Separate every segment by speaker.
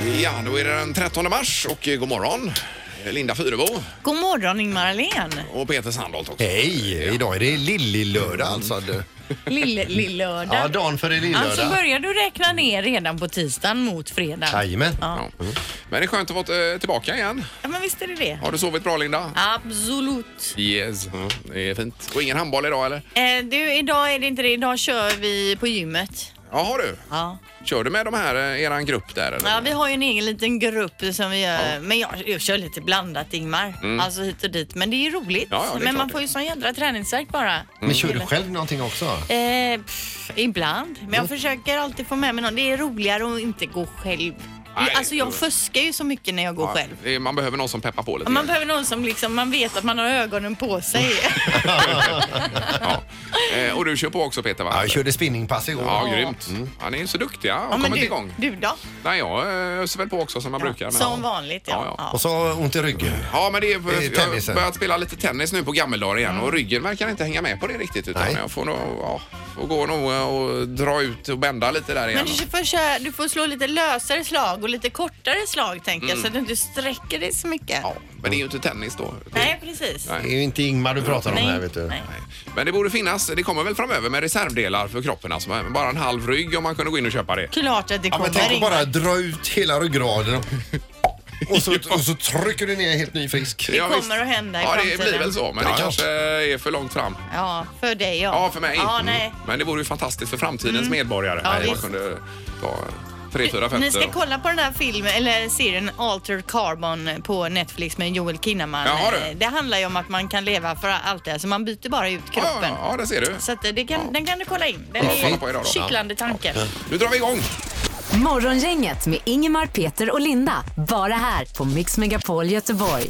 Speaker 1: är det den 13 mars och eh, god morgon. Eh, Linda Fyrebo
Speaker 2: God morgon Ingmar Ahlén.
Speaker 1: och Peter Sandholt också.
Speaker 3: Hej! Idag är det lillilördag alltså. Du.
Speaker 2: Lill-lördag.
Speaker 3: Ja, dagen före
Speaker 2: alltså
Speaker 3: lillördag.
Speaker 2: börjar du räkna ner redan på tisdagen mot fredag.
Speaker 3: Jajamän.
Speaker 1: Ja. Men det är skönt att vara eh, tillbaka igen.
Speaker 2: Ja, men visst är det det.
Speaker 1: Har du sovit bra Linda?
Speaker 2: Absolut.
Speaker 1: Yes,
Speaker 3: Mm.
Speaker 1: ja, det är fint. Och ingen handboll idag eller?
Speaker 2: Eh, du, idag är det inte det. Idag kör vi på gymmet.
Speaker 1: Jaha du.
Speaker 2: Ja.
Speaker 1: Kör du med de här, eh, eran grupp där eller?
Speaker 2: ja, vi har ju en egen liten grupp som vi gör. Men jag, jag kör lite blandat Ingmar. Alltså hit och dit. Men det är ju roligt.
Speaker 1: Mm. Ja, ja, det är klart
Speaker 2: men man
Speaker 1: det. Mm.
Speaker 2: får ju sån jädra träningsvärk bara.
Speaker 3: Men kör du
Speaker 2: Mm.
Speaker 3: själv någonting också?
Speaker 2: Eh, pff, ibland. Men
Speaker 1: Mm.
Speaker 2: jag försöker alltid få med mig någon. Det är roligare att inte gå själv.
Speaker 1: Nej.
Speaker 2: alltså jag fuskar ju så mycket när jag går själv.
Speaker 1: det är- Man behöver någon som peppar på lite.
Speaker 2: Man behöver någon som liksom, man vet att man har ögonen på sig.
Speaker 1: ja. Eh, Och du kör på också Peter va?
Speaker 3: Ja, jag Mm. körde spinningpass igår.
Speaker 1: Ja, grymt. Ja, ni är så duktiga och
Speaker 2: Ja, men
Speaker 1: kommit
Speaker 2: du,
Speaker 1: igång.
Speaker 2: du då?
Speaker 1: Nej, jag eh, öser väl på också som man brukar. men-
Speaker 2: Som vanligt ja.
Speaker 1: ja.
Speaker 3: Och så har jag ont i ryggen.
Speaker 1: Ja, men det är,
Speaker 3: är
Speaker 1: jag har
Speaker 3: tennisen. Mm.
Speaker 1: börjat spela lite tennis nu på gammeldagar igen och ryggen verkar inte hänga med på det riktigt utan
Speaker 3: Nej.
Speaker 1: jag får nog, ja, får gå nog eh, och dra ut och bända lite där igen.
Speaker 2: Men du får, köra, du får slå lite lösare slag och lite kortare slag tänker jag så att du inte sträcker dig så mycket.
Speaker 1: Ja, men det är ju inte tennis då.
Speaker 2: Nej, precis.
Speaker 1: Nej.
Speaker 3: Det är ju inte Ingmar du pratar om här vet du.
Speaker 2: nej.
Speaker 1: Men det borde finnas, det kommer väl framöver med reservdelar för kroppen alltså, bara en halv rygg om man kunde gå in och köpa det.
Speaker 2: Klart att det
Speaker 3: Ja,
Speaker 2: kommer
Speaker 3: men tänk att
Speaker 2: in.
Speaker 3: bara dra ut hela ryggraden och- och så, och så trycker du ner helt ny frisk.
Speaker 2: Det kommer att hända i
Speaker 1: Ja, det
Speaker 2: framtiden.
Speaker 1: blir väl så, men det
Speaker 3: Ja.
Speaker 1: kanske är för långt fram.
Speaker 2: Ja, för dig ja.
Speaker 1: Ja, för mig. Mm.
Speaker 2: Ja, nej. Mm.
Speaker 1: Men det vore ju fantastiskt för framtidens medborgare.
Speaker 2: Ja,
Speaker 1: man
Speaker 2: visst.
Speaker 1: kunde ta tre, fyra fötter.
Speaker 2: Ni ska
Speaker 1: och-
Speaker 2: kolla på den här filmen, eller serien Altered Carbon på Netflix med Joel Kinnaman.
Speaker 1: Jaha, du.
Speaker 2: Eh, Det handlar ju om att man kan leva för alltid, alltså man byter bara ut
Speaker 1: Ja,
Speaker 2: kroppen.
Speaker 1: Ja, ja, det ser du.
Speaker 2: Så att eh, det kan, den kan du kolla in. Den
Speaker 1: Ja, kolla på idag
Speaker 2: är
Speaker 1: då.
Speaker 2: kittlande tanken.
Speaker 1: Nu drar vi igång!
Speaker 4: Morgongänget med Ingemar, Peter och Linda. Bara här på Mix Megapol Göteborg.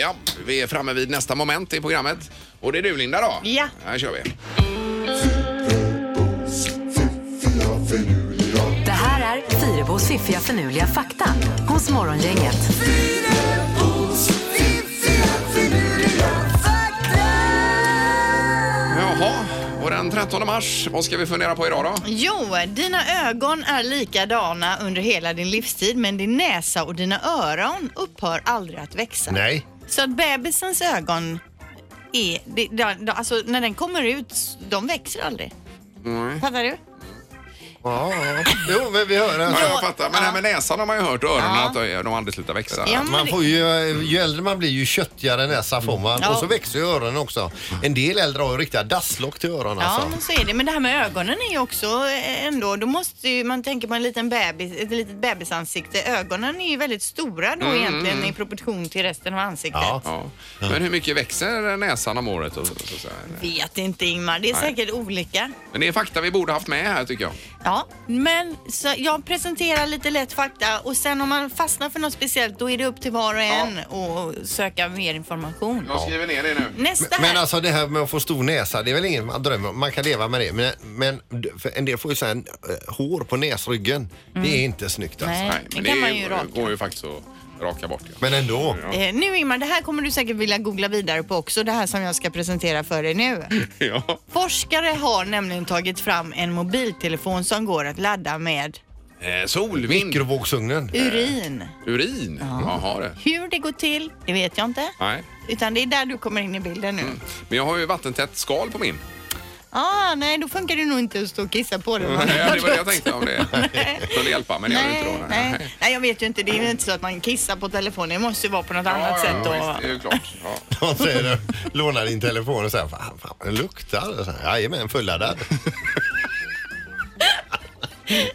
Speaker 1: Ja, vi är framme vid nästa moment i programmet. Och det är du Linda då?
Speaker 2: Ja.
Speaker 1: Här kör vi.
Speaker 4: Det här är Fyrebos fiffiga förnuliga fakta hos Morgongänget.
Speaker 1: Jaha, och den 13 mars, vad ska vi fundera på idag då?
Speaker 2: Jo, dina ögon är likadana under hela din livstid men din näsa och dina öron upphör aldrig att växa.
Speaker 3: Nej.
Speaker 2: Så att bebisens ögon är, det, det, det- alltså när den kommer ut, de växer aldrig. Fattar du?
Speaker 3: Ja, jo, men vi hör det.
Speaker 1: Ja,
Speaker 3: Alltså,
Speaker 1: jag fattar. Men det här med näsan har man ju hört och öronen att de- de aldrig slutar växa.
Speaker 2: Ja, men
Speaker 3: Man
Speaker 2: det-
Speaker 3: får ju, eh, ju äldre man blir ju köttigare näsa får man.
Speaker 2: Ja.
Speaker 3: Och så växer ju öronen också. En del äldre har ju riktiga dasslock till öronen
Speaker 2: Ja,
Speaker 3: alltså.
Speaker 2: men så är det. Men det här med ögonen är ju också eh, ändå, då måste ju, man tänker på en liten bebis, ett litet bebisansikte. Ögonen är ju väldigt stora då egentligen i proportion till resten av ansiktet.
Speaker 3: Mm. Ja.
Speaker 1: Ja. Men hur mycket växer näsan om året? Och, och så, så här?
Speaker 2: Vet inte Ingmar, det är
Speaker 1: Nej.
Speaker 2: säkert olika.
Speaker 1: Men det är fakta vi borde haft med här tycker jag.
Speaker 2: Ja, men så jag presenterar lite lätt fakta och sen om man fastnar för något speciellt då är det upp till var och en att söka mer information.
Speaker 1: Jag skriver ner det nu.
Speaker 2: Nästa
Speaker 3: Men
Speaker 2: här.
Speaker 3: alltså det här med att få stor näsa, det är väl inget man drömmer om. Man kan leva med det. Men, men för en del får ju så här, eh, hår på näsryggen. Det är inte snyggt alltså.
Speaker 2: Nej, det kan man ju raka.
Speaker 1: går ju faktiskt att raka bort. Ja.
Speaker 3: Men ändå.
Speaker 2: Eh, nu Ingmar, det här kommer du säkert vilja googla vidare på också, det här som jag ska presentera för dig nu.
Speaker 1: ja.
Speaker 2: Forskare har nämligen tagit fram en mobiltelefon som går att ladda med
Speaker 1: Eh, solvind.
Speaker 3: Mikrovågsugnen.
Speaker 2: urin.
Speaker 1: Urin. Jaha det.
Speaker 2: Hur det går till, det vet jag inte.
Speaker 1: Nej.
Speaker 2: Utan det är där du kommer in i bilden nu.
Speaker 1: Men jag har ju vattentätt skal på min.
Speaker 2: Ah, nej, då funkar det nog inte att stå och kissa på den.
Speaker 1: Ja, det var det jag tänkte om det kunde hjälpa, men det gör det inte då.
Speaker 2: Nej, nej. nej, jag vet ju inte. Det är ju inte så att man kissar på telefonen. Det måste ju vara på något
Speaker 1: Ja,
Speaker 2: annat
Speaker 1: ja,
Speaker 2: sätt.
Speaker 1: ja,
Speaker 2: då.
Speaker 1: visst, det är ju klart. Ja.
Speaker 3: De säger det. Lånar din telefon och säger fan, fan den luktar. Och så här, Jajamän, fulladdad.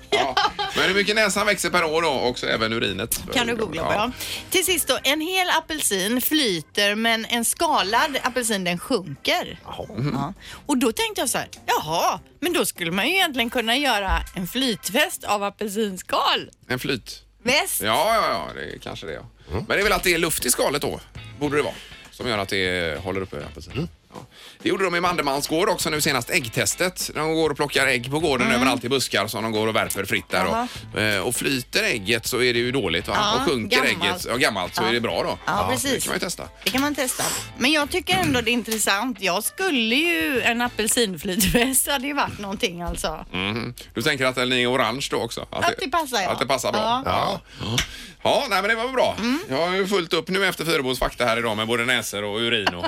Speaker 1: Ja. Men hur mycket näsan växer per år då? Också även urinet.
Speaker 2: Kan du googla på ja. Till sist då, en hel apelsin flyter men en skalad apelsin den sjunker. Ja. Och då tänkte jag så här, jaha, men då skulle man ju egentligen kunna göra en flytväst av apelsinskal.
Speaker 1: En flyt.
Speaker 2: Väst?
Speaker 1: Ja, ja, ja, det är
Speaker 2: Mm. Mm.
Speaker 1: kanske det. Ja. Men det är väl att det är luft i skalet då, borde det vara, som gör att det håller uppe apelsinen. Ja. Det gjorde de i Mandemans gård också nu senast, äggtestet. De går och plockar ägg på gården
Speaker 2: Mm.
Speaker 1: överallt i buskar som de går och värper fritt där. Och, eh, och flyter ägget så är det ju dåligt va?
Speaker 2: Ja,
Speaker 1: och sjunker
Speaker 2: gammalt.
Speaker 1: ägget, ja, gammalt så är det bra då.
Speaker 2: Ja,
Speaker 1: Det
Speaker 2: precis.
Speaker 1: kan man ju testa.
Speaker 2: Det kan man testa. Men jag tycker ändå det är intressant. Jag skulle ju en apelsinflytväst hade ju varit någonting alltså.
Speaker 1: Mhm. Du tänker att den är orange då också?
Speaker 2: Att det passar, ja.
Speaker 1: Att det passar bra.
Speaker 2: Ja. Mm.
Speaker 1: Ja. Ja. Ja, nej men det var väl bra. Jag har ju fullt upp nu efter Fyrebos fakta här idag med både näsor och urin och,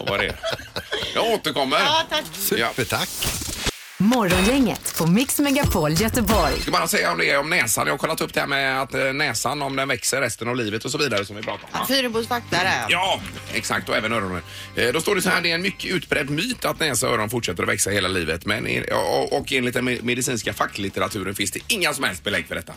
Speaker 1: och vad det är. Jag återkommer.
Speaker 2: Ja, tack.
Speaker 1: Ja.
Speaker 3: Supertack.
Speaker 4: Morgongänget på Mix Megapol Göteborg.
Speaker 1: ska bara säga om det är om näsan. Jag har kollat upp det här med att eh, näsan, om den växer resten av livet och så vidare som vi pratade om. va?
Speaker 2: Fyrebos fakta där.
Speaker 1: Ja, exakt och även öronen. Eh, Då står det så här, det är en mycket utbredd myt att näsa och öron fortsätter att växa hela livet. Men, en- och, och enligt den me- medicinska facklitteraturen finns det inga som helst belägg för detta.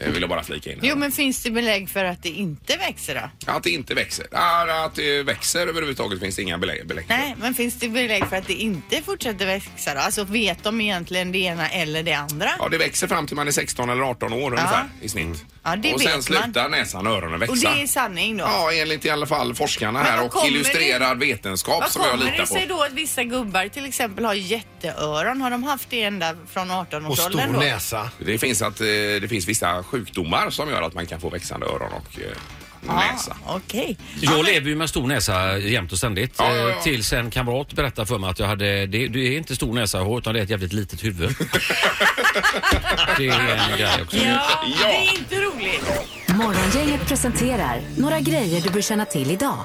Speaker 1: Eh, Vill jag bara flika in. här.
Speaker 2: Jo, men finns det belägg för att det inte växer då?
Speaker 1: Att det inte växer. Ah, Att det växer överhuvudtaget finns det inga belägg. belägg. för.
Speaker 2: Nej, men finns det belägg för att det inte fortsätter växa då? Alltså vet de egentligen det ena eller det andra?
Speaker 1: Ja, det växer fram till man är 16 eller 18 år ungefär i snitt.
Speaker 2: Ja, det
Speaker 1: och
Speaker 2: vet
Speaker 1: sen
Speaker 2: man.
Speaker 1: slutar näsan och öronen växa.
Speaker 2: Och det är sanning då?
Speaker 1: Ja, enligt i alla fall forskarna
Speaker 2: Men
Speaker 1: här
Speaker 2: vad
Speaker 1: och
Speaker 2: kommer
Speaker 1: illustrerad vetenskap
Speaker 2: Vad
Speaker 1: som jag
Speaker 2: kommer
Speaker 1: litar
Speaker 2: det
Speaker 1: på.
Speaker 2: sig då att vissa gubbar till exempel har jätteöron? Har de haft det ända från
Speaker 3: Och
Speaker 2: 18-årsåldern
Speaker 3: stor
Speaker 2: då?
Speaker 3: näsa.
Speaker 1: Det finns, att, eh, det finns vissa sjukdomar som gör att man kan få växande öron och eh, näsa.
Speaker 2: Ah, Okej.
Speaker 5: Jag lever ju med stor näsa jämt och ständigt.
Speaker 1: Ja, ja, ja.
Speaker 5: Eh, Tills en kamrat berättade för mig att jag hade, det, det är inte stor näsa jag har, utan det är ett jävligt litet huvud. det är en grej också.
Speaker 2: Ja,
Speaker 1: Ja.
Speaker 2: det är inte roligt.
Speaker 4: Morgongänget presenterar några grejer du bör känna till idag.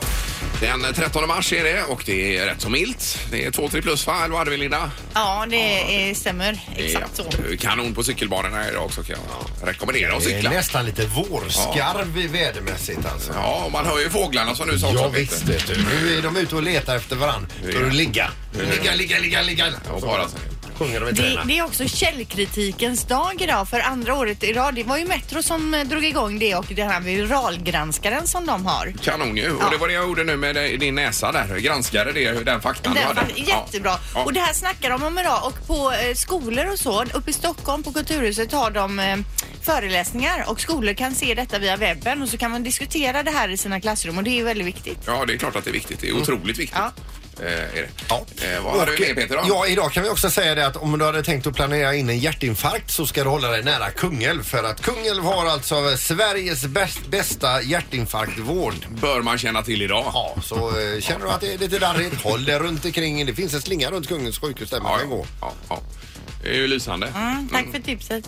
Speaker 1: Den 13 mars är det och det är rätt så milt. Det är 2-3 plus va? Eller vad hade vi Linda?
Speaker 2: Ja, det eh, stämmer. Exakt så.
Speaker 1: Ja, Kanon på cykelbanorna idag också kan jag rekommendera att
Speaker 3: Det är
Speaker 1: cykla.
Speaker 3: nästan lite vårskarv i vädermässigt alltså.
Speaker 1: Ja, och man hör ju fåglarna som du sa
Speaker 3: Ja
Speaker 1: också.
Speaker 3: visst vet du. Nu är de ute och letar efter varandra. För att ligga. Ligga, ligga, ligga, ligga.
Speaker 1: Och
Speaker 3: Så
Speaker 1: bara så.
Speaker 3: sjunger de i
Speaker 2: Det,
Speaker 3: träna.
Speaker 2: det är också källkritikens dag idag för andra året i rad. Det var ju Metro som eh, drog igång det och den här viralgranskaren som de har.
Speaker 1: Kanon ju. Och det var det jag gjorde nu med dig- din näsa där. Jag Granskade det, den faktan
Speaker 2: Den
Speaker 1: du hade.
Speaker 2: fan, jättebra.
Speaker 1: Ja.
Speaker 2: Och det här snackar de om idag och på eh, skolor och så, uppe i Stockholm på Kulturhuset har de eh, föreläsningar och skolor kan se detta via webben och så kan man diskutera det här i sina klassrum och det är ju väldigt viktigt.
Speaker 1: Ja, det är klart att det är viktigt. Det är otroligt viktigt.
Speaker 2: Mm. Ja.
Speaker 1: Eh, är det.
Speaker 3: Ja.
Speaker 1: Eh, vad hade
Speaker 3: Och,
Speaker 1: vi med Peter då?
Speaker 3: Ja, idag kan vi också säga det att om du hade tänkt att planera in en hjärtinfarkt så ska du hålla dig nära Kungälv för att Kungälv har alltså Sveriges bäst, bästa hjärtinfarktvård.
Speaker 1: Bör man känna till idag.
Speaker 3: Ja, så eh, känner du att det är lite darrigt, håll dig runt omkring. Det finns en slinga runt Kungens sjukhus där man kan gå.
Speaker 1: ja, ja. Det är ju lysande.
Speaker 2: Mm, tack för tipset.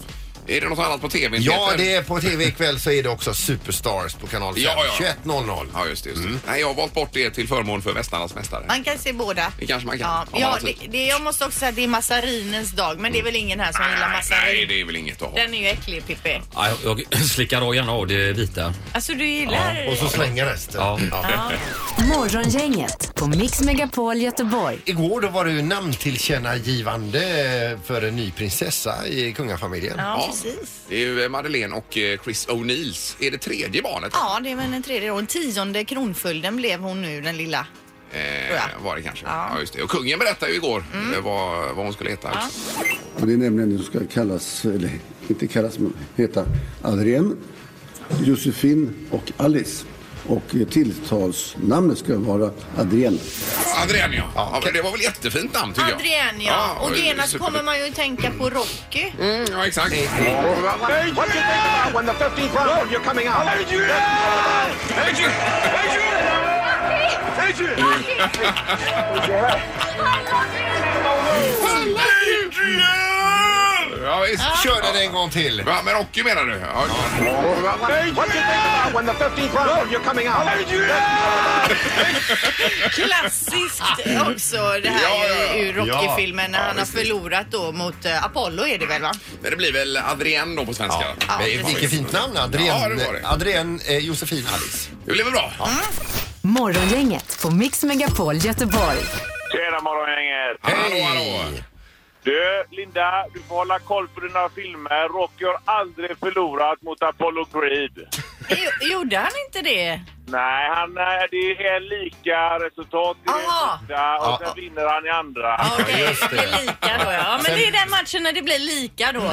Speaker 1: Är det något annat på tv
Speaker 3: Ja,
Speaker 1: Peter?
Speaker 3: det är på tv ikväll så är det också Superstars på kanal 5.
Speaker 1: Ja, ja.
Speaker 3: 21.00.
Speaker 1: Ja, just det. Just.
Speaker 3: Mm.
Speaker 1: det. Nej, jag har valt bort det till förmån för Västarnas mästare.
Speaker 2: Man kan se båda.
Speaker 1: Det kanske man kan,
Speaker 2: Ja,
Speaker 1: om man
Speaker 2: ja,
Speaker 1: har
Speaker 2: det,
Speaker 1: tid.
Speaker 2: det, jag måste också säga att det är massarinens dag men det är väl ingen här som gillar
Speaker 1: Mm. Nej, nej,
Speaker 2: massarin.
Speaker 1: det är väl inget att ha.
Speaker 2: Den är ju äcklig Pippi.
Speaker 5: Ja, Jag, jag slickar av gärna av det vita.
Speaker 2: Alltså du gillar...
Speaker 3: Och så slänger resten.
Speaker 5: Ja.
Speaker 4: Morgongänget på Mix Megapol Göteborg.
Speaker 3: Igår då var det ju namntillkännagivande för en ny prinsessa i kungafamiljen.
Speaker 2: Ja,
Speaker 1: Ja.
Speaker 2: precis.
Speaker 1: Det är ju eh, Madeleine och eh, Chris O'Neills. Är det tredje barnet?
Speaker 2: Ja, det är väl den tredje då. Den tionde kronföljden blev hon nu, den lilla. tror
Speaker 1: Eh,
Speaker 2: jag.
Speaker 1: var det kanske.
Speaker 2: Ja. Mm.
Speaker 1: Ja. just det. Och kungen berättade ju igår eh, vad, vad hon skulle heta.
Speaker 6: Och det är nämligen den som ska kallas, eller inte kallas, men heta Adrienne, Josefin och Alice. Och eh, tilltalsnamnet ska vara Adrienne.
Speaker 1: Adrienne, ja. ja men det var väl jättefint namn tycker jag.
Speaker 2: Adrienne, ja.
Speaker 3: Ah,
Speaker 2: Och
Speaker 1: det är
Speaker 2: genast
Speaker 1: super-
Speaker 2: kommer man ju att tänka på Rocky.
Speaker 1: Mm, ja, exakt.
Speaker 7: What do you think about when the 15th round you're coming out? Adrian! Adrian! Adrian!
Speaker 1: Adrienne! Ja, visst.
Speaker 3: Kör den en gång till.
Speaker 1: Ja, men Rocky menar du? Ja.
Speaker 7: What do you think about when the 15th round you're coming out?
Speaker 2: Klassiskt också det här
Speaker 1: Ja, ja, ja.
Speaker 2: ur Rocky-filmen när
Speaker 1: Ja,
Speaker 2: han har
Speaker 1: visst.
Speaker 2: förlorat då mot eh, Apollo är det väl va?
Speaker 1: Men det blir väl Adrienne då på svenska?
Speaker 2: Ja,
Speaker 3: Men
Speaker 2: precis.
Speaker 3: Vilket fint namn! Adrienne,
Speaker 1: Ja, det var det.
Speaker 3: Adrienne eh, Josefin Alice.
Speaker 1: Det blir väl bra?
Speaker 4: Morgongänget på Mix Megapol Göteborg.
Speaker 8: Tjena morgongänget!
Speaker 1: Hallå, hallå.
Speaker 8: Du, Linda, du får hålla koll på dina filmer. Rocky har aldrig förlorat mot Apollo Creed.
Speaker 2: Jo- Gjorde han inte det?
Speaker 8: Nej, han, eh, det är lika resultat i
Speaker 2: Aha.
Speaker 8: det första och
Speaker 3: Ja.
Speaker 8: sen vinner han i andra.
Speaker 2: Ja, Okej,
Speaker 3: just
Speaker 2: det blir lika då ja. Men det är den matchen när det blir lika då.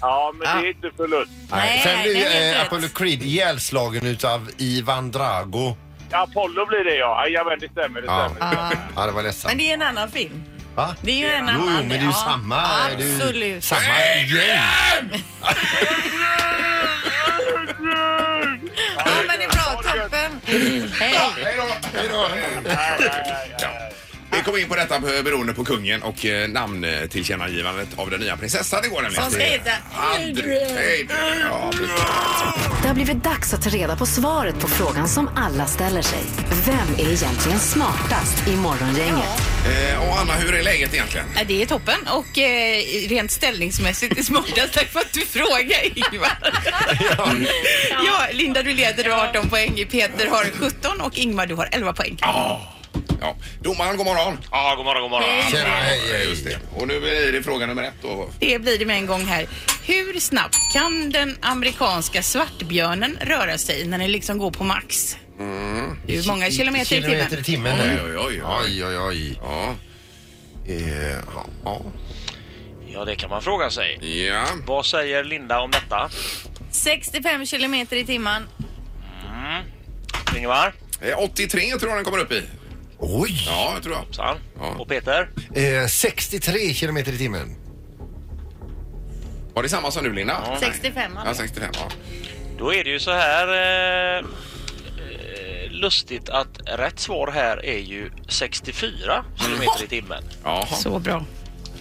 Speaker 8: Ja, men det är inte förlust.
Speaker 2: Nej,
Speaker 3: Sen
Speaker 2: nej, det är
Speaker 3: blev
Speaker 2: helt
Speaker 3: eh,
Speaker 2: rätt.
Speaker 3: Apollo Creed ihjälslagen utav Ivan Drago.
Speaker 8: Apollo blir det ja. Jajamän, det stämmer. Det
Speaker 3: Ja.
Speaker 8: stämmer.
Speaker 3: Ja, det var
Speaker 2: Men
Speaker 3: ledsamt.
Speaker 2: det är en annan film.
Speaker 3: Va?
Speaker 2: Det är ju
Speaker 3: Jo,
Speaker 2: en annan.
Speaker 3: jo, men det är ju samma. det är ju
Speaker 2: Absolut.
Speaker 3: Samma gäng.
Speaker 2: Ja, men det är bra. Toppen. Hej.
Speaker 1: Hej då! Hej då! Ja. Vi kom in på detta beroende på kungen och eh, namntillkännagivandet av den nya prinsessan igår nämligen.
Speaker 2: Som ska heta
Speaker 1: Adrian. Adrian. Ja, precis.
Speaker 4: Det har blivit dags att ta reda på svaret på frågan som alla ställer sig. Vem är egentligen smartast i Morgongänget?
Speaker 1: Eh, Och Anna, hur är läget egentligen?
Speaker 9: Ja, Det är toppen och eh, rent ställningsmässigt är smartast. Tack för att du frågar Ingvar. Ja, Linda du leder, du har 18 poäng. Peter har 17 och Ingmar du har 11 poäng.
Speaker 1: Ja. Domaren, god morgon.
Speaker 8: Ja, god morgon, god morgon.
Speaker 3: Tjena, hej,
Speaker 1: Ja,
Speaker 3: hej.
Speaker 1: Just det. Och nu är det fråga nummer ett då.
Speaker 9: Det blir det med en gång här. Hur snabbt kan den amerikanska svartbjörnen röra sig när den liksom går på max? Det är ju många kilometer i
Speaker 3: Kilometer i
Speaker 9: timmen.
Speaker 3: timmen
Speaker 1: Oj,
Speaker 3: nu.
Speaker 1: oj, oj. oj.
Speaker 3: Oj, oj, oj.
Speaker 1: Ja.
Speaker 3: Eh, ja.
Speaker 10: Ja, det kan man fråga sig.
Speaker 1: ja.
Speaker 10: Vad säger Linda om detta?
Speaker 2: 65 kilometer i timmen.
Speaker 10: Ingvar?
Speaker 1: Eh, 83 tror jag den kommer upp i.
Speaker 3: Oj!
Speaker 1: Ja, det tror jag.
Speaker 10: San?
Speaker 1: Ja.
Speaker 10: Och Peter?
Speaker 3: Eh, 63 kilometer i timmen.
Speaker 1: Var det samma som nu, Linda? Nej.
Speaker 2: 65.
Speaker 1: Ja, 65. Ja.
Speaker 10: Då är det ju så här... Eh, eh, lustigt att rätt svar här är ju 64 kilometer i timmen.
Speaker 1: Jaha.
Speaker 9: Så bra.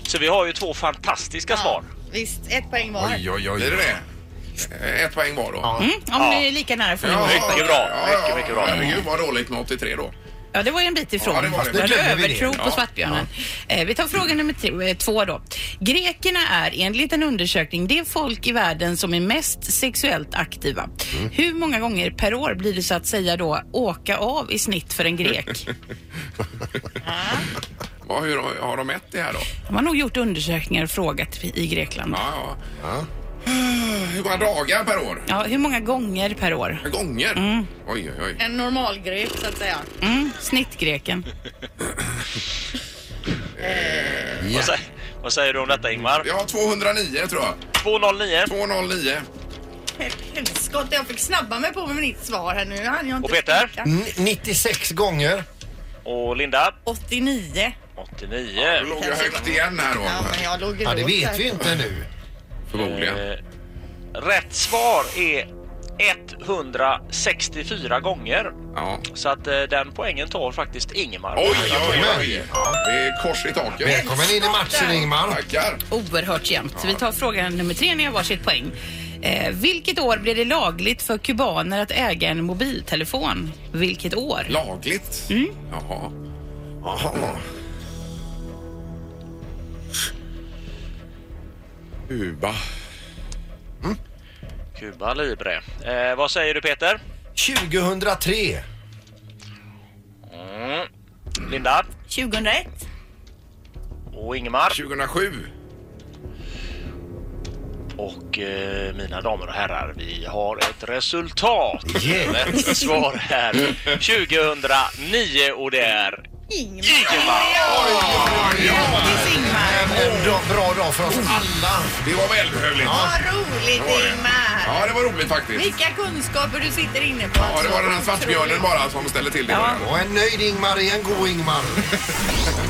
Speaker 10: Så vi har ju två fantastiska svar.
Speaker 2: Visst, ett poäng var.
Speaker 3: Oj, oj, oj.
Speaker 1: Blir det det? Eh, Ett poäng var då. Ja.
Speaker 9: Om
Speaker 10: Ja.
Speaker 9: ni är lika nära får ni
Speaker 1: Ja,
Speaker 9: vara.
Speaker 10: mycket bra. Mycket, mycket bra.
Speaker 1: Herregud, vad dåligt med 83 då.
Speaker 9: Ja, det var ju en bit ifrån.
Speaker 1: Ja, det var det.
Speaker 9: Där
Speaker 3: Nu glömmer vi det.
Speaker 9: övertro
Speaker 1: Ja.
Speaker 9: på svartbjörnen. Eh, vi tar fråga nummer t- eh, två då. Grekerna är enligt en undersökning det folk i världen som är mest sexuellt aktiva.
Speaker 3: Mm.
Speaker 9: Hur många gånger per år blir det så att säga då åka av i snitt för en grek?
Speaker 1: Vad, hur har har de mätt det här då?
Speaker 9: De har nog gjort undersökningar och frågat i Grekland. Ja.
Speaker 1: Ja, ja. Hur många dagar per år?
Speaker 9: hur många gånger per år?
Speaker 1: Gånger?
Speaker 10: Mm.
Speaker 1: Oj, oj, oj.
Speaker 2: En normal grep så att säga.
Speaker 9: Mm, snittgreken.
Speaker 10: Vad, säger, vad säger du om detta Ingmar?
Speaker 1: Ja, 209 tror jag.
Speaker 10: 209.
Speaker 1: 209.
Speaker 2: Helskotta, jag fick snabba mig på med mitt svar här nu. Jag hann jag inte
Speaker 10: Och Peter?
Speaker 2: tänka.
Speaker 3: N- 96 gånger.
Speaker 10: Och Linda?
Speaker 2: 89.
Speaker 10: 89.
Speaker 1: Då låg jag högt igen här då.
Speaker 2: Ja, men jag låg
Speaker 3: Ja, det vet vi inte nu.
Speaker 1: Förmodligen.
Speaker 10: Eh, rätt svar är 164 gånger.
Speaker 1: Ja.
Speaker 10: Så att eh, den poängen tar faktiskt Ingemar.
Speaker 1: Oj, oj, oj. Det är kors i taket.
Speaker 3: Välkommen in i matchen Ingmar.
Speaker 1: Tackar.
Speaker 9: Oerhört jämnt. Vi tar fråga nummer tre, ni har varsitt poäng. Eh, vilket år blev det lagligt för kubaner att äga en mobiltelefon? Vilket år?
Speaker 1: Lagligt? Mm. Jaha. Jaha. Kuba.
Speaker 10: Cuba Libre. Eh, vad säger du Peter?
Speaker 3: 2003.
Speaker 10: Linda?
Speaker 2: 2001.
Speaker 10: Och Ingemar?
Speaker 1: 2007.
Speaker 10: Och eh, mina damer och herrar, vi har ett resultat.
Speaker 3: Yeah.
Speaker 10: Rätt svar här. 2009 och det är Ingemar.
Speaker 2: Grattis Ingmar!
Speaker 3: En dag- bra dag för oss alla.
Speaker 1: Det var välbehövligt. Ja.
Speaker 2: Vad roligt
Speaker 1: var det.
Speaker 2: Ingmar!
Speaker 1: det var roligt faktiskt.
Speaker 2: Vilka kunskaper du sitter inne på.
Speaker 1: Ja, det var den här svartbjörnen bara som ställde till det. Ja.
Speaker 3: Och en nöjd Ingmar är en god Ingmar.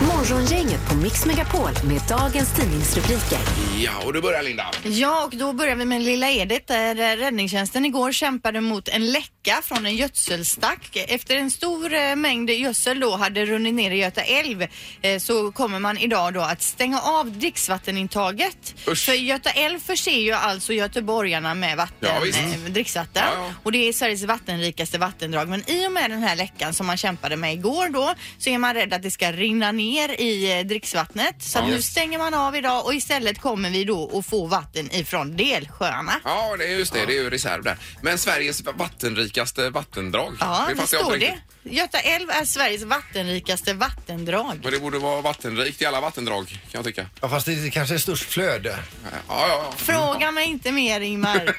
Speaker 4: Morgongänget på Mix Megapol med dagens tidningsrubriker.
Speaker 1: ja, och du börjar Linda.
Speaker 2: Ja, och då börjar vi med Lilla Edet där räddningstjänsten igår kämpade mot en läcka från en gödselstack. Efter en stor eh, mängd gödsel då hade runnit ner i Göta älv eh, så kommer man idag då att stänga av dricksvattenintaget.
Speaker 1: Usch.
Speaker 2: För Göta älv förser ju alltså göteborgarna med vatten,
Speaker 1: Ja, visst.
Speaker 2: eh, dricksvatten.
Speaker 1: Ja, ja.
Speaker 2: Och det är Sveriges vattenrikaste vattendrag. Men i och med den här läckan som man kämpade med igår då så är man rädd att det ska rinna ner i eh, dricksvattnet. Så att
Speaker 1: Ja.
Speaker 2: nu stänger man av idag och istället kommer vi då att få vatten ifrån delsjöarna.
Speaker 1: Ja, det är just det. Det är ju reserv där. Men Sveriges vattenrikaste vattendrag.
Speaker 2: Ja, det
Speaker 1: fattar jag
Speaker 2: står
Speaker 1: inte
Speaker 2: det.
Speaker 1: riktigt.
Speaker 2: Göta älv är Sveriges vattenrikaste vattendrag.
Speaker 1: Men det borde vara vattenrikt i alla vattendrag kan jag tycka.
Speaker 3: Ja, fast det är kanske är störst flöde.
Speaker 1: Ja, ja, ja.
Speaker 2: Fråga mig inte mer Ingmar,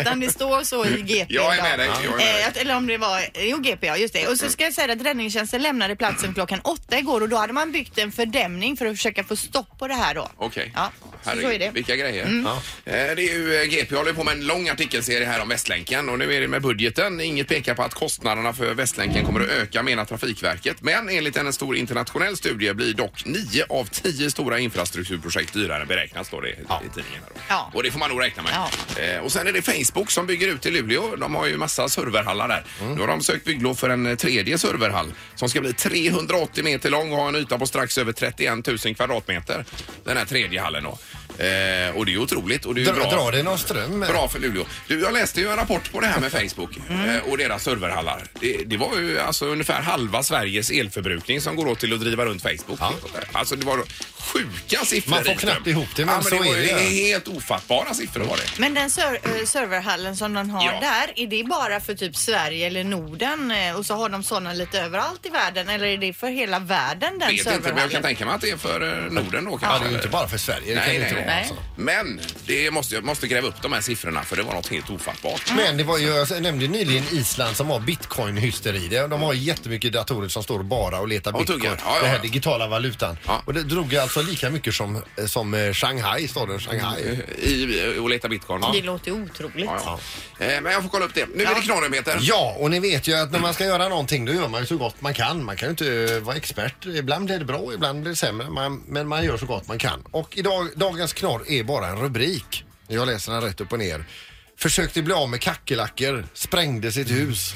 Speaker 2: utan det står så i GP.
Speaker 1: Jag är med
Speaker 2: idag.
Speaker 1: dig. Jag är med dig.
Speaker 2: Eh, att- eller om det var, jo GP ja, just det. Och så ska jag säga att räddningstjänsten lämnade platsen klockan åtta igår och då hade man byggt en fördämning för att försöka få stopp på det här då.
Speaker 1: Okej.
Speaker 2: Ja. Så är det.
Speaker 1: Vilka grejer.
Speaker 2: Mm.
Speaker 1: Eh, Det är ju eh, GP håller på med en lång artikelserie här om Västlänken och nu är det med budgeten. Inget pekar på att kostnaderna för Västlänken kommer att öka menar Trafikverket. Men enligt en stor internationell studie blir dock 9 av 10 stora infrastrukturprojekt dyrare än beräknat står det i i tidningen. här då. Och det får man nog räkna med. Eh, Och sen är det Facebook som bygger ut i Luleå. De har ju massa serverhallar där.
Speaker 3: Mm.
Speaker 1: Nu har de sökt bygglov för en eh, tredje serverhall som ska bli 380 meter lång och ha en yta på strax över 31 000 kvadratmeter. Den här tredje hallen då. Eh, och det är otroligt. Och det är ju
Speaker 3: Dra,
Speaker 1: bra.
Speaker 3: dra dig någon ström.
Speaker 1: Bra för Luleå. Du, jag läste ju en rapport på det här med
Speaker 3: Mm.
Speaker 1: Facebook eh, och deras serverhallar. Det, det var ju alltså ungefär halva Sveriges elförbrukning som går åt till att driva runt Facebook. Alltså det var sjuka siffror.
Speaker 3: Man får
Speaker 1: Rydström.
Speaker 3: knappt ihop det, men
Speaker 1: ja, men
Speaker 3: så
Speaker 1: det var
Speaker 3: är
Speaker 1: ju
Speaker 3: det.
Speaker 1: helt ofattbara siffror var det.
Speaker 2: Men den ser, eh, serverhallen som de har
Speaker 1: Ja.
Speaker 2: där, är det bara för typ Sverige eller Norden eh, och så har de sådana lite överallt i världen eller är det för hela världen den
Speaker 1: vet inte, men jag kan
Speaker 2: serverhallen?
Speaker 1: tänka mig att det är för eh, Norden då kanske. Ja, det är ju inte
Speaker 3: bara för Sverige. det kan
Speaker 1: nej,
Speaker 3: det inte
Speaker 1: nej,
Speaker 3: vara,
Speaker 1: nej.
Speaker 3: alltså.
Speaker 1: Men det måste, jag måste gräva upp de här siffrorna för det var något helt ofattbart.
Speaker 3: Men det var ju, jag nämnde nyligen Island som har bitcoin-hysteri. Det- De har jättemycket datorer som står bara och letar
Speaker 1: Och
Speaker 3: bitcoin.
Speaker 1: tuggar. Ja, ja,
Speaker 3: Den här
Speaker 1: ja.
Speaker 3: digitala valutan. Och det drog ju alltså lika mycket som, som eh, Shanghai, staden
Speaker 1: Mm, eh,
Speaker 3: Shanghai.
Speaker 1: I, och leta bitcoin.
Speaker 2: Det låter ju otroligt.
Speaker 1: Ja, ja. Eh, Men jag får kolla upp det. Nu är det knorren Peter.
Speaker 3: Ja, och ni vet ju att när man ska göra någonting då gör man ju så gott man kan. Man kan ju inte eh, vara expert. Ibland blir det bra, ibland blir det sämre. Man, men man gör så gott man kan. Och idag, dagens knorr är bara en rubrik. Jag läser den rätt upp och ner. Försökte bli av med kackerlackor, sprängde sitt hus.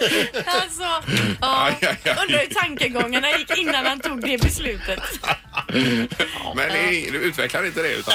Speaker 2: Alltså, ja,
Speaker 1: Aj, aj, aj.
Speaker 2: undrar hur tankegångarna gick innan han tog det beslutet.
Speaker 1: Men det, du utvecklar inte det utan...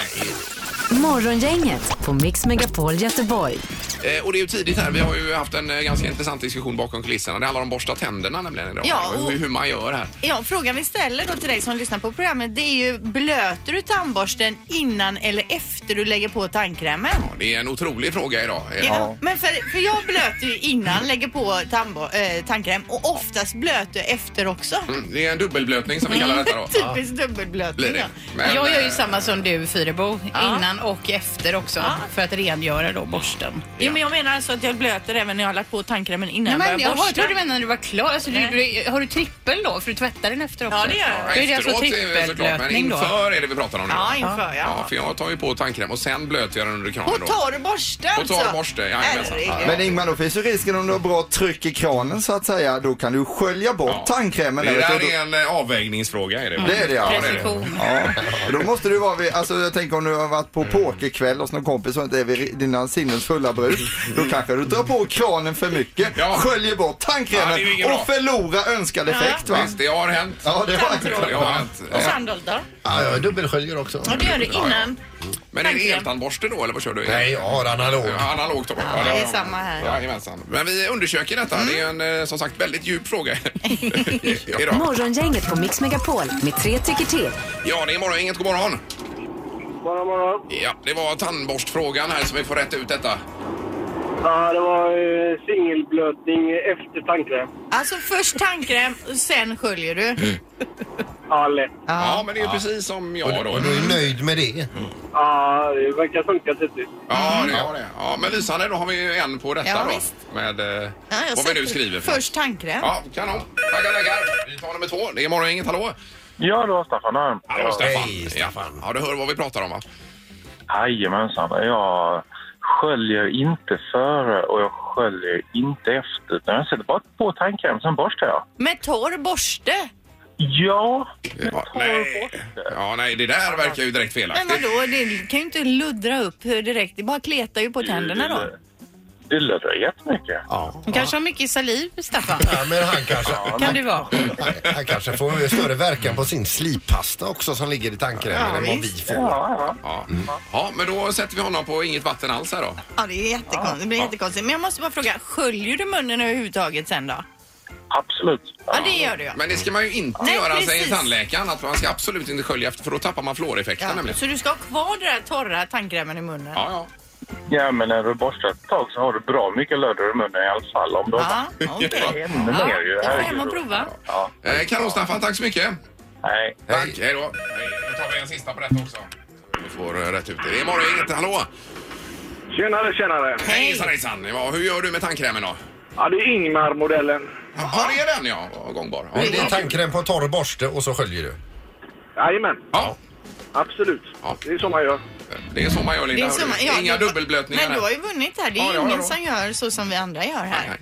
Speaker 4: Morgongänget på Mix Megapol Göteborg.
Speaker 1: Eh, och det är ju tidigt här. Vi har ju haft en eh, ganska intressant diskussion bakom kulisserna. Det handlar om borsta tänderna nämligen idag.
Speaker 2: Ja,
Speaker 1: och...
Speaker 2: och-
Speaker 1: hur, hur man gör här.
Speaker 2: Ja, frågan vi ställer då till dig som lyssnar på programmet det är ju blöter du tandborsten innan eller efter du lägger på tandkrämen?
Speaker 1: Det är en otrolig fråga idag.
Speaker 2: Ja. Men för, för jag blöter ju innan, lägger på tandbo, eh, tandkräm och oftast blöter jag efter också.
Speaker 1: Mm, Det är en dubbelblötning som vi kallar detta då.
Speaker 2: Typiskt dubbelblötning.
Speaker 1: Blir det.
Speaker 2: Typ. ja.
Speaker 1: Men,
Speaker 9: jag gör ju
Speaker 1: eh,
Speaker 9: samma som du Fyrebo, innan och efter också för att rengöra då borsten.
Speaker 2: Jo, men jag menar alltså att jag blöter även när jag har lagt på tandkrämen innan
Speaker 9: Nej, men
Speaker 2: jag
Speaker 9: jag
Speaker 2: börjar
Speaker 9: har-
Speaker 2: borsta.
Speaker 9: trodde du menade när du var klar. Alltså, du, du, har du trippel då? För du tvättar den efter också?
Speaker 2: Ja, det gör jag.
Speaker 9: Då är det alltså
Speaker 1: Efteråt är det såklart, men
Speaker 9: trippelblötning då?
Speaker 1: inför är det vi pratar om nu.
Speaker 2: Ja, inför, ja.
Speaker 1: för jag tar ju på tandkräm och sen blöter jag den under kranen
Speaker 2: På
Speaker 1: då.
Speaker 2: torr borste
Speaker 1: På
Speaker 2: alltså.
Speaker 1: torr borste, jajamensan.
Speaker 2: Herregud.
Speaker 11: Men Ingmar, då finns ju risken om du har bra tryck i kranen så att säga, då kan du skölja bort tandkrämen.
Speaker 1: Det
Speaker 11: där, vet
Speaker 1: där
Speaker 11: du, och då-
Speaker 1: är en eh, avvägningsfråga. Är det,
Speaker 11: Det är det ja.
Speaker 1: det är det.
Speaker 11: ja. Då måste du vara vid, alltså jag tänker om du har varit
Speaker 1: Mm.
Speaker 11: på pokerkväll hos någon kompis och inte är vid dina sinnens fulla bruk. Då kanske du drar på kranen för mycket, sköljer bort
Speaker 1: Mm. Ja,
Speaker 11: tandkrämen
Speaker 1: det är ju inget
Speaker 11: och
Speaker 1: bra.
Speaker 11: förlorar önskad
Speaker 1: Ja.
Speaker 11: effekt va.
Speaker 1: Mm. Visst, det har hänt.
Speaker 11: Ja, det har hänt.
Speaker 1: Det har hänt.
Speaker 2: Och sanddoltar.
Speaker 3: Ja, jag dubbelsköljer också.
Speaker 2: Ja, det gör du innan.
Speaker 1: Men är det eltandborste då eller vad kör du?
Speaker 3: Nej, jag har analog.
Speaker 1: Ja, analog tar man.
Speaker 2: Ja, det är samma här. Mm.
Speaker 1: Jajamensan. Men vi undersöker detta. Det är en eh, som sagt väldigt djup fråga idag.
Speaker 4: Morgongänget på Mix Megapol med tre tycker till.
Speaker 1: Ja, det är morgon. Inget god morgon. Morgon, morgon. Ja, det var tandborstfrågan här som vi får rätta ut detta.
Speaker 12: Ja, det var eh, singelblötning efter tandkräm.
Speaker 2: Alltså först tandkräm, och sen sköljer
Speaker 1: Mm.
Speaker 2: du.
Speaker 12: Ja, lätt.
Speaker 1: Ja, men det är ju precis som jag då.
Speaker 3: Och du är nöjd med det?
Speaker 12: Ja, det verkar funka
Speaker 8: typ.
Speaker 12: tydligt.
Speaker 1: Ja, det har det. Ja, men lysande. Då har vi ju en på detta
Speaker 2: Ja,
Speaker 1: då.
Speaker 2: visst.
Speaker 1: Med eh,
Speaker 2: Ja, jag
Speaker 1: vad vi nu
Speaker 2: sätter
Speaker 1: skriver. För.
Speaker 2: Först tandkräm.
Speaker 1: Ja, kanon. Taggar, taggar. Vi tar nummer två. Det är morgon. Inget hallå.
Speaker 13: Ja, det var Staffan här.
Speaker 1: Hallå, Staffan. Staffan. Ja, du hör vad vi pratar om va?
Speaker 13: Jajamensan. Jag sköljer inte före och jag sköljer inte efter. Utan jag sätter bara på tandkräm, sen borstar jag.
Speaker 2: Med torr borste?
Speaker 13: Ja.
Speaker 1: Ja, nej. ja, nej, det där verkar ju direkt
Speaker 2: Men
Speaker 1: felaktigt.
Speaker 2: vadå, det kan ju inte luddra upp direkt. Det bara kletar ju på tänderna då.
Speaker 1: Mm.
Speaker 13: Det luddrar jättemycket. Ja.
Speaker 9: Du kanske har mycket saliv, Staffan?
Speaker 3: Ja, men han kanske...
Speaker 9: Kan du vara?
Speaker 1: Mm.
Speaker 3: Han kanske får ju större verkan på sin slipasta också som ligger i tandkrämen
Speaker 1: Ja,
Speaker 3: än vad vi
Speaker 1: visst.
Speaker 3: får.
Speaker 13: Ja,
Speaker 1: ja. men då sätter vi honom på inget vatten alls här då.
Speaker 2: Ja, det är jättekonstigt. Det blir jättekonstigt. Men jag måste bara fråga, sköljer du munnen överhuvudtaget sen då?
Speaker 13: Absolut.
Speaker 2: Ja, det gör du ja.
Speaker 1: Men det ska man ju inte
Speaker 2: Nej,
Speaker 1: göra, säger
Speaker 2: precis.
Speaker 1: tandläkaren. Att man ska absolut inte skölja efter för då tappar man fluoreffekten
Speaker 2: ja.
Speaker 1: nämligen.
Speaker 2: Så du ska ha kvar den där torra tandkrämen i munnen?
Speaker 1: Ja, ja.
Speaker 13: Ja, men när du borstar ett tag så har du bra mycket lödder i munnen i alla fall. Om du
Speaker 2: Ja,
Speaker 1: okej.
Speaker 13: Ännu
Speaker 1: Ja,
Speaker 13: mer ju.
Speaker 1: jag får hem och
Speaker 13: herregud.
Speaker 2: prova.
Speaker 13: Ja.
Speaker 1: Eh, kanon Staffan, tack så mycket.
Speaker 13: Hej.
Speaker 1: Tack, hej då. Hej. Då tar vi en sista på detta också. Vi får eh, rätt ut det. Det är morgon, inget hallå!
Speaker 12: Tjenare, tjenare!
Speaker 1: Hejsan hejsan! Ja, hur gör du med tandkrämen då?
Speaker 8: Ja, det är Ingmar-modellen.
Speaker 1: Ja, det är den ja. Gångbar.
Speaker 3: Det är tandkräm på en torr borste och så sköljer du.
Speaker 8: Jajamän. Ja. Absolut. Det är så man gör.
Speaker 1: Det är så man gör
Speaker 2: Det är
Speaker 1: Linda.
Speaker 2: så man- ja,
Speaker 1: Inga
Speaker 2: det-
Speaker 1: dubbelblötningar
Speaker 2: Men du
Speaker 1: här.
Speaker 2: har ju vunnit här. Det är
Speaker 1: Ja,
Speaker 2: ju
Speaker 1: ja,
Speaker 2: ingen
Speaker 1: ja.
Speaker 2: som gör så som vi andra gör här.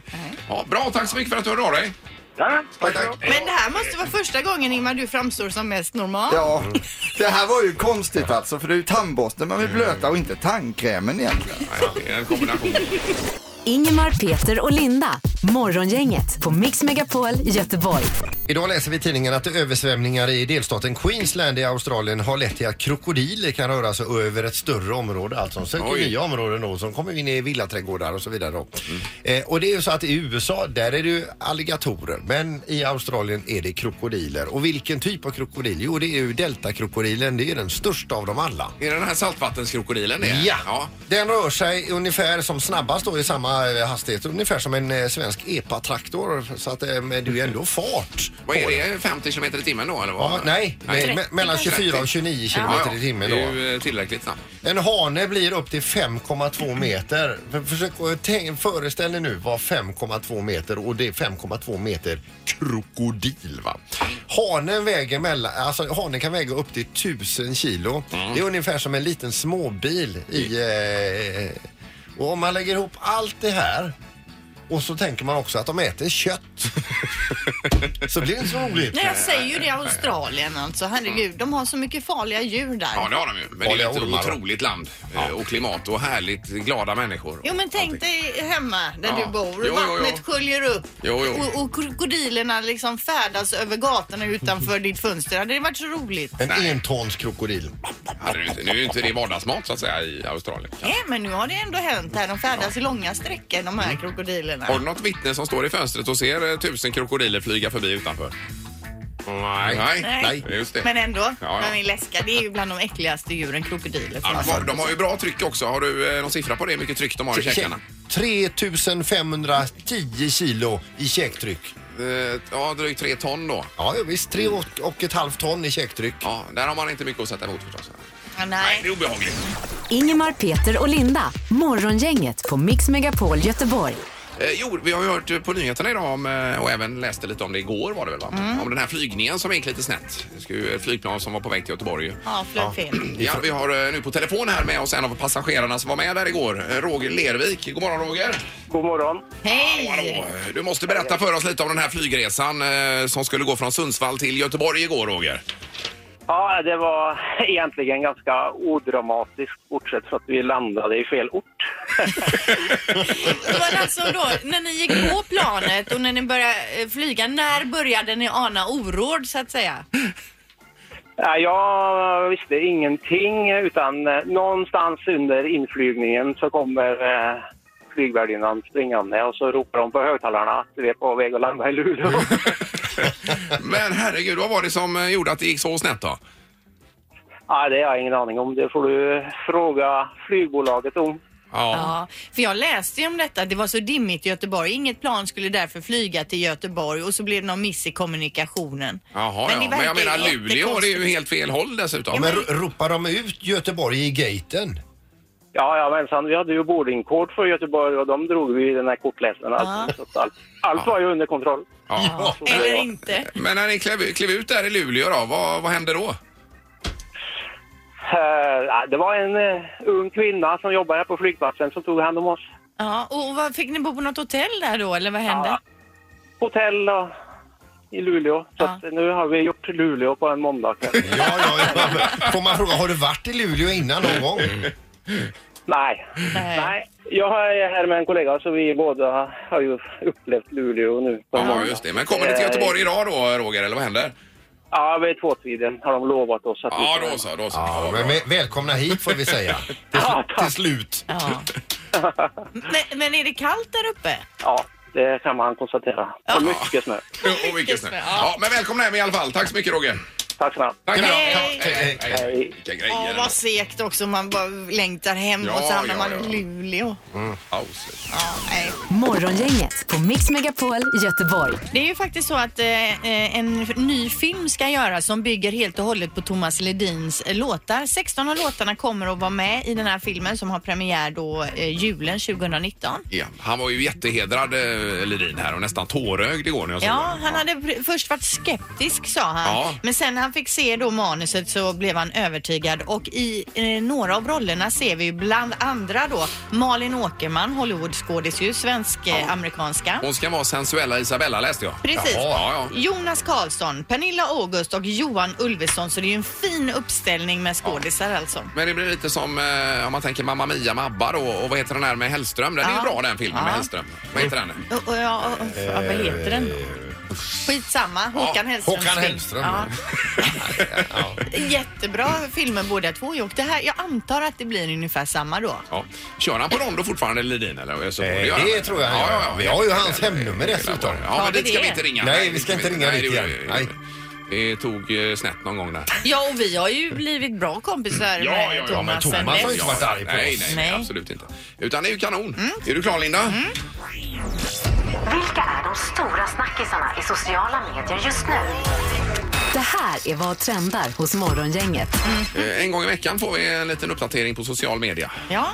Speaker 1: Ja, bra, tack så mycket för att du hörde av dig.
Speaker 8: Ja,
Speaker 1: tack, tack.
Speaker 2: Men det här måste vara första gången Ingmar du framstår som mest normal.
Speaker 11: Ja, det här var ju konstigt alltså för det är ju tandborsten man vill blöta och inte tandkrämen egentligen.
Speaker 1: En kombination.
Speaker 4: Ingemar, Peter och Linda. Morgongänget på Mix Megapol Göteborg.
Speaker 3: Idag läser vi i tidningen att översvämningar i delstaten Queensland i Australien har lett till att krokodiler kan röra sig över ett större område. Alltså de söker
Speaker 11: Oj.
Speaker 3: nya områden då som kommer in i villaträdgårdar och så vidare. Då.
Speaker 1: Mm.
Speaker 3: Eh, och det är ju så att i USA där är det ju alligatorer men i Australien är det krokodiler. Och vilken typ av krokodil? Jo det är ju deltakrokodilen. Det är den största av dem alla.
Speaker 1: Är det den här saltvattenkrokodilen? det?
Speaker 3: Ja. den rör sig ungefär som snabbast då i samma eh, hastighet. Ungefär som en eh, svensk EPA-traktor. Så att eh, men det är ju ändå fart.
Speaker 1: Vad är
Speaker 3: på den.
Speaker 1: det? 50 km i timmen då? Eller vad?
Speaker 3: Ja, nej, nej, me- mellan 24 och 29 kilometer i timmen då.
Speaker 1: Det är ju eh, tillräckligt snabbt.
Speaker 3: En hane blir upp till 5,2 meter. För- Försök att tänk, föreställ dig nu vad 5,2 meter och det är 5,2 meter krokodil. Va? Hanen väger mellan, alltså hanen kan väga upp till 1000 kilo.
Speaker 1: Mm.
Speaker 3: Det är ungefär som en liten småbil i... Eh, och om man lägger ihop allt det här och så tänker man också att de äter kött. så blir det inte så roligt.
Speaker 2: Nej, jag säger ju det Australien alltså. Herregud, de har så mycket farliga djur där.
Speaker 1: Mm. Ja, det har de ju. Men det
Speaker 3: Farliga
Speaker 1: är ett
Speaker 3: ormar då.
Speaker 1: otroligt land eh, och klimat och härligt glada människor.
Speaker 2: Jo, men tänk dig hemma där
Speaker 1: Ja.
Speaker 2: du bor.
Speaker 1: Jo, jo, jo.
Speaker 2: Vattnet sköljer upp
Speaker 1: Jo, jo.
Speaker 2: Och, och krokodilerna liksom färdas över gatorna utanför ditt fönster. Hade det varit så roligt?
Speaker 3: En entonskrokodil.
Speaker 1: Hade du inte- Nu är ju inte det vardagsmat så att säga i Australien.
Speaker 2: Nej, men nu har det ändå hänt här. De färdas i långa sträckor, de här krokodilerna.
Speaker 1: Mm. Har du något vittne som står i fönstret och ser eh, tusen krokodiler flyga förbi utanför? Nej, nej, just det.
Speaker 2: Men ändå,
Speaker 1: Ja, ja.
Speaker 2: men min läska, det är ju bland de äckligaste djuren krokodiler
Speaker 1: Ja, alltså. de har- de har ju bra tryck också. Har du eh, någon siffra på det? Hur mycket tryck de har i
Speaker 3: Kä-
Speaker 1: käkarna?
Speaker 3: 3510 kilo i käktryck.
Speaker 1: Eh, Ja, drygt tre ton då.
Speaker 3: Ja, visst. Tre och, och ett halvt ton i käktryck.
Speaker 1: Ja, där har man inte mycket att sätta emot förstås.
Speaker 2: Nej.
Speaker 1: det är obehagligt.
Speaker 4: Ingemar, Peter och Linda. Morgongänget på Mix Megapol Göteborg.
Speaker 1: Eh, jo, vi har ju hört eh, på nyheterna idag om, eh, och även läste lite om det igår var det väl va?
Speaker 2: Mm.
Speaker 1: Om den här flygningen som gick lite snett. Det ska ju ett flygplan som var på väg till Göteborg ju.
Speaker 2: Ja, flög fel.
Speaker 1: Ja, vi har eh, nu på telefon här med oss en av passagerarna som var med där igår, eh, Roger Lervik. God morgon Roger! Eh,
Speaker 12: God morgon!
Speaker 2: Hej!
Speaker 1: Du måste berätta för oss lite om den här flygresan eh, som skulle gå från Sundsvall till Göteborg igår Roger.
Speaker 12: Ja, det var egentligen ganska odramatiskt bortsett från att vi landade i fel ort.
Speaker 2: Det var alltså då, när ni gick på planet och när ni började eh, flyga, när började ni ana oråd så att säga?
Speaker 12: Ja, Jag visste ingenting utan eh, någonstans under inflygningen så kommer eh, flygvärdinnan springande och så ropar de på högtalarna att vi är på väg att landa i Luleå.
Speaker 1: Men herregud, vad var det som eh, gjorde att det gick så snett då?
Speaker 12: Nej, det har jag ingen aning om. Det får du fråga flygbolaget om.
Speaker 2: Ja, för jag läste ju om detta. Det var så dimmigt i Göteborg. Inget plan skulle därför flyga till Göteborg och så blev det någon miss i kommunikationen.
Speaker 1: Jaha,
Speaker 2: Men
Speaker 1: men,
Speaker 2: det
Speaker 1: ja. men jag
Speaker 2: verkar
Speaker 1: menar
Speaker 2: ju
Speaker 1: Luleå, det är ju
Speaker 2: jättekonstigt.
Speaker 1: helt fel håll dessutom.
Speaker 3: men ro- ropar de ut Göteborg i gaten?
Speaker 12: Ja, ja, men sen, vi hade ju boardingkort för Göteborg och de drog vi i den här kortläsaren. Alltså, så att allt, allt var ju under kontroll.
Speaker 1: Ja.
Speaker 2: Eller inte.
Speaker 1: Men när ni klev, klev ut där i Luleå då, vad, vad hände då?
Speaker 12: Eh, det var en eh, ung kvinna som jobbade här på flygplatsen som tog hand om oss.
Speaker 2: Ja, och vad, fick ni bo på något hotell där då eller vad hände?
Speaker 12: Hotell och i Luleå. Så att nu har vi gjort Luleå på en måndag kväll.
Speaker 3: Får man fråga, har du varit i Luleå innan någon gång?
Speaker 12: Nej. Nej. Jag är här med en kollega så vi båda har ju upplevt Luleå nu. på en
Speaker 1: Ja,
Speaker 12: måndag.
Speaker 1: just det. Men kommer ni till Göteborg idag då, Roger, eller vad händer?
Speaker 12: Ja, vid tvåtiden har de lovat oss att
Speaker 1: Ja, då så, då så. Ja,
Speaker 3: Men, men, välkomna hit får vi säga. Till, sl- till slut.
Speaker 2: Ja. Men, men är det kallt där uppe?
Speaker 12: Ja, det kan man konstatera. Och mycket snö.
Speaker 1: Och mycket snö. Ja, men välkomna hem i alla fall. Tack så mycket, Roger.
Speaker 12: Tack snälla.
Speaker 1: Tack
Speaker 2: Hej!
Speaker 1: Hej. Vilka
Speaker 2: Åh,
Speaker 1: grejer.
Speaker 2: vad segt också. Man bara längtar hem
Speaker 1: Ja,
Speaker 2: och så hamnar
Speaker 1: ja,
Speaker 2: man
Speaker 1: ja.
Speaker 2: i Luleå.
Speaker 1: Mm.
Speaker 2: Nej.
Speaker 4: Morgongänget på Mix Megapol Göteborg.
Speaker 2: Det är ju faktiskt så att eh, eh, en f- ny film ska göras som bygger helt och hållet på Thomas Ledins eh, låtar. 16 av låtarna kommer att vara med i den här filmen som har premiär då eh, julen 2019.
Speaker 1: Ja, han var ju jättehedrad, eh, Ledin, här och nästan tårögd igår när jag såg
Speaker 2: Ja,
Speaker 1: honom.
Speaker 2: han hade pr- först varit skeptisk sa han.
Speaker 1: Ja.
Speaker 2: Men sen när han fick se då manuset så blev han övertygad och i eh, några av rollerna ser vi ju bland andra då Malin Åkerman, Hollywoodskådis ju, svensk-amerikanska.
Speaker 1: Hon ska vara sensuella Isabella läste jag.
Speaker 2: Precis.
Speaker 1: Jaha, ja.
Speaker 2: Jonas Karlsson, Pernilla August och Johan Ulveson. Så det är ju en fin uppställning med skådisar alltså.
Speaker 1: Men det blir lite som eh, om man tänker Mamma Mia med ABBA då, och vad heter den här med Hellström? Den är ju
Speaker 2: Ja.
Speaker 1: bra den filmen med
Speaker 2: Ja.
Speaker 1: Hellström. Vad heter den?
Speaker 2: Och, och, ja, och, och, ja, vad heter den? Skitsamma, Håkan Hellström.
Speaker 1: Håkan Hellström.
Speaker 2: Jättebra filmer båda två ju. Och det här, jag antar att det blir ungefär samma då.
Speaker 1: Ja. Kör han på rondo fortfarande Ledin eller? Jag
Speaker 3: Eh,
Speaker 1: gör han.
Speaker 3: det tror jag han
Speaker 1: ja,
Speaker 3: gör.
Speaker 1: ja, ja,
Speaker 3: Vi har ju hans hemnummer dessutom.
Speaker 1: Ja, men dit ska vi inte ringa.
Speaker 3: Nej, vi ska inte ringa
Speaker 1: Nej,
Speaker 3: dit
Speaker 1: det gjorde
Speaker 3: igen.
Speaker 1: vi. Det tog eh, snett någon gång där.
Speaker 2: Ja, och vi har ju blivit bra kompisar med Thomas sen dess.
Speaker 1: alltså, nej, nej, nej, absolut inte. Utan det är ju kanon.
Speaker 2: Mm.
Speaker 1: Är du klar Linda?
Speaker 4: Vilka är de stora snackisarna i sociala medier just nu? Det här är vad trendar hos Morgongänget.
Speaker 1: Eh, En gång i veckan får vi en liten uppdatering på social media.
Speaker 2: Ja.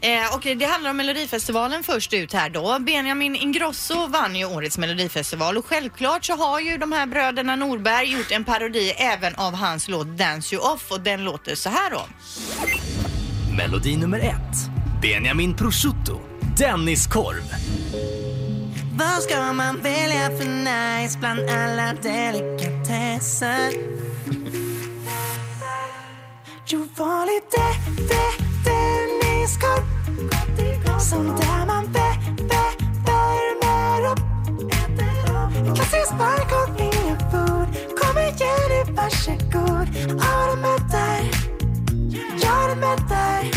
Speaker 2: Eh, och det handlar om Melodifestivalen först ut här då. Benjamin Ingrosso vann ju årets Melodifestival och självklart så har ju de här bröderna Norberg gjort en parodi även av hans låt Dance You Off och den låter så här då.
Speaker 14: Melodi nummer ett. Benjamin Prosciutto. Denniskorv.
Speaker 15: Vad ska man välja för nice bland alla delikatesser? Jo, var lite de, Denniskorv Sånt där man vä, vä, värmer upp Klassisk barkåt, ingebord Kom igen nu, varsågod Av det med dig Gör det med dig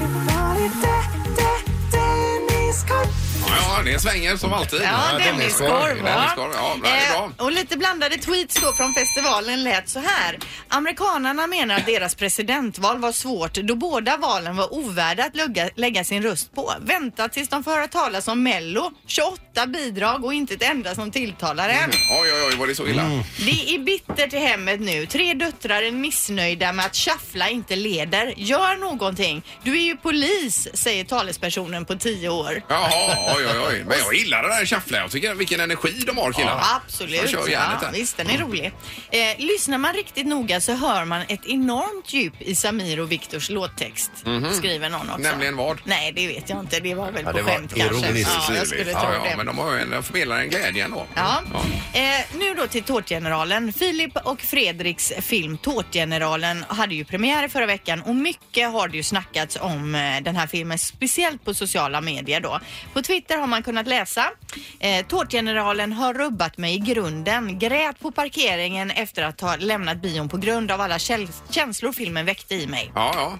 Speaker 15: Jo, var lite de, Denniskorv
Speaker 1: Ja, ja det svänger som alltid.
Speaker 2: Ja, Denniskorv. va?
Speaker 1: Denniskorv, Ja, bra, det är bra.
Speaker 2: Eh, och lite blandade tweets då från festivalen lät så här. Amerikanarna menar att deras presidentval var svårt då båda valen var ovärda att lugga, lägga sin röst på. Vänta tills de får höra talas om Mello. 28 bidrag och inte ett enda som tilltalar en.
Speaker 1: Oj, oj, oj, var det så illa?
Speaker 3: Mm.
Speaker 2: Det är bittert i hemmet nu. Tre döttrar är missnöjda med att shuffla inte leder. Gör någonting. Du är ju polis, säger talespersonen på 10 år.
Speaker 1: Jaha, oj, oj, oj. Men jag gillar det där shuffla. Jag tycker vilken energi de har killarna.
Speaker 2: Ja, absolut.
Speaker 1: De kör
Speaker 2: Ja,
Speaker 1: järnet där.
Speaker 2: visst, den är rolig. Eh, lyssnar man riktigt noga så hör man ett enormt djup i Samir och Viktors låttext.
Speaker 1: Mhm.
Speaker 2: Skriver någon också.
Speaker 1: Nämligen vad?
Speaker 2: Nej, det vet jag inte. Det var väl
Speaker 1: Ja,
Speaker 2: på
Speaker 1: det var
Speaker 2: skämt kanske.
Speaker 1: ironiskt
Speaker 2: ja, jag skulle
Speaker 1: syrligt.
Speaker 2: tro
Speaker 1: ja, ja,
Speaker 2: det.
Speaker 1: Men de, har ju en, de förmedlar en glädje ändå.
Speaker 2: Ja. Eh, nu då till Tårtgeneralen. Filip och Fredriks film Tårtgeneralen hade ju premiär i förra veckan och mycket har det ju snackats om eh, den här filmen, speciellt på sociala medier då. På Twitter har man kunnat läsa eh, Tårtgeneralen har rubbat mig i grunden, grät på parkeringen efter att ha lämnat bion på grund av alla käl- känslor filmen väckte i mig. Eh,
Speaker 1: Ja, ja.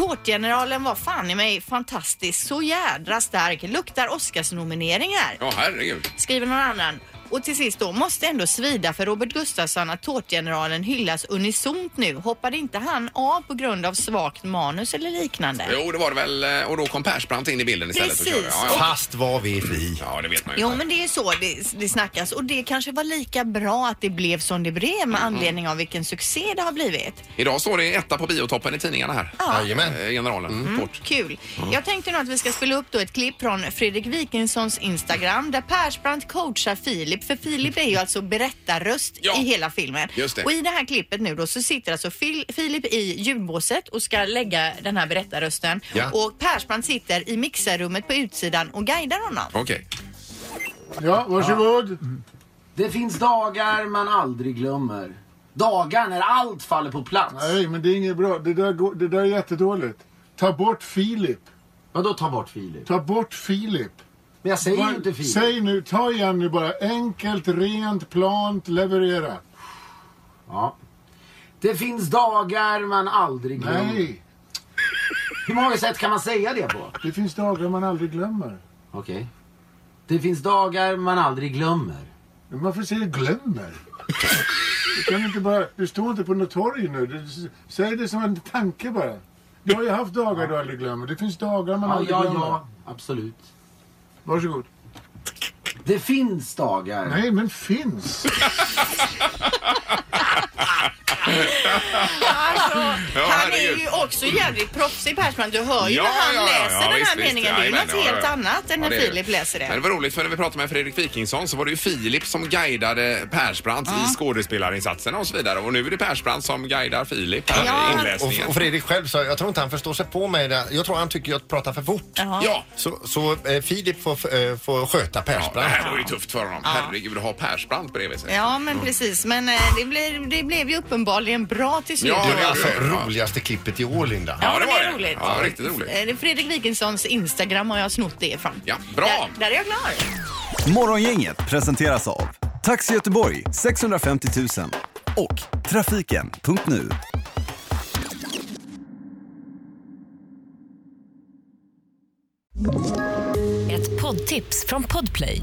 Speaker 2: Tårtgeneralen var fan i mig fantastisk, så jädra stark, luktar Oscarsnomineringar
Speaker 1: Ja, herregud.
Speaker 2: skriver någon annan. Och till sist då, måste ändå svida för Robert Gustafsson att tårtgeneralen hyllas unisont nu. Hoppade inte han av på grund av svagt manus eller liknande?
Speaker 1: Jo, det var det väl. eh, Och då kom Persbrandt in i bilden istället.
Speaker 2: Precis.
Speaker 1: Och körde. ja, ja.
Speaker 3: Fast vad vet vi?
Speaker 1: Ja, det vet man ju.
Speaker 2: Jo men det är så det, det snackas och det kanske var lika bra att det blev som det blev med anledning av vilken succé det har blivit.
Speaker 1: Idag står det etta på biotoppen i tidningarna här.
Speaker 2: Ja.
Speaker 1: Jajamän. Eh, Generalen. Fort.
Speaker 2: Kul.
Speaker 1: Mm.
Speaker 2: Jag tänkte nog att vi ska spela upp då ett klipp från Fredrik Wikingssons Instagram där Persbrandt coachar Filip. För Filip är ju alltså berättarröst i hela filmen.
Speaker 15: Just det.
Speaker 2: Och i det här klippet nu då så sitter alltså Fil- Filip i ljudbåset och ska lägga den här berättarrösten.
Speaker 15: Ja.
Speaker 2: Och Persbrandt sitter i mixerrummet på utsidan och guidar honom.
Speaker 1: Okej.
Speaker 16: Ja, varsågod. Det finns dagar man aldrig glömmer. Dagar när allt faller på plats.
Speaker 17: Nej, men det är inget bra. Det där, går, det där är jättedåligt. Ta bort Filip.
Speaker 16: Vadå ta bort Filip?
Speaker 17: Ta bort Filip.
Speaker 16: Men jag säger ju inte Filip.
Speaker 17: Säg nu, ta igen nu bara. Enkelt, rent, plant, leverera.
Speaker 16: Ja. Det finns dagar man aldrig glömmer.
Speaker 17: Nej.
Speaker 16: Hur många sätt kan man säga det på?
Speaker 17: Det finns dagar man aldrig glömmer.
Speaker 16: Okej. Det finns dagar man aldrig glömmer.
Speaker 17: Men Varför säger du glömmer? Du kan inte bara... Du står inte på något torg nu. Du, s- säg det som en tanke bara. Du har ju haft dagar du aldrig glömmer. Det finns dagar man
Speaker 16: Ja,
Speaker 17: aldrig
Speaker 16: ja,
Speaker 17: glömmer.
Speaker 16: ja. Absolut.
Speaker 17: Varsågod.
Speaker 16: Det finns dagar.
Speaker 17: Nej, men finns.
Speaker 2: Alltså,
Speaker 17: Ja,
Speaker 2: han är ju
Speaker 17: herregud.
Speaker 2: också jävligt proffsig Persman. Du hör ju
Speaker 1: Ja,
Speaker 2: när han
Speaker 1: ja, ja, ja,
Speaker 2: läser den här
Speaker 1: visst, visst.
Speaker 2: meningen. det är ju
Speaker 1: Jajamän,
Speaker 2: något
Speaker 1: ja,
Speaker 2: helt
Speaker 1: ja.
Speaker 2: annat än
Speaker 1: Ja,
Speaker 2: när
Speaker 1: det är
Speaker 2: Filip läser det.
Speaker 1: Men det var roligt för när vi pratade med Fredrik Wikingsson så var det ju Filip som guidade Persbrandt i skådespelarinsatserna och så vidare. Och nu är det Persbrandt som guidar Filip här i inläsningen.
Speaker 3: Och, och Fredrik själv sa, jag tror inte han förstår sig på mig. Där. Jag tror han tycker jag pratar för fort.
Speaker 1: Ja.
Speaker 3: Så, så eh, Filip får, eh, får sköta
Speaker 1: Ja, det
Speaker 3: Persbrandt.
Speaker 1: här var ju tufft för honom. Herregud, att ha Persbrandt bredvid sig.
Speaker 2: Ja, men precis. Men eh, det, blev, det blev ju uppenbarligen bra till slut.
Speaker 3: det är alltså roligaste klippet i år, Linda.
Speaker 2: Ja, men det är roligt.
Speaker 3: Ja, riktigt roligt.
Speaker 2: Eh, det är Fredrik Wikingssons Instagram har jag snott det ifrån.
Speaker 1: Ja,
Speaker 2: Där, där är jag klar.
Speaker 18: Morgongänget presenteras av Taxi Göteborg 650 000 och Trafiken.nu.
Speaker 19: Ett poddtips från Podplay.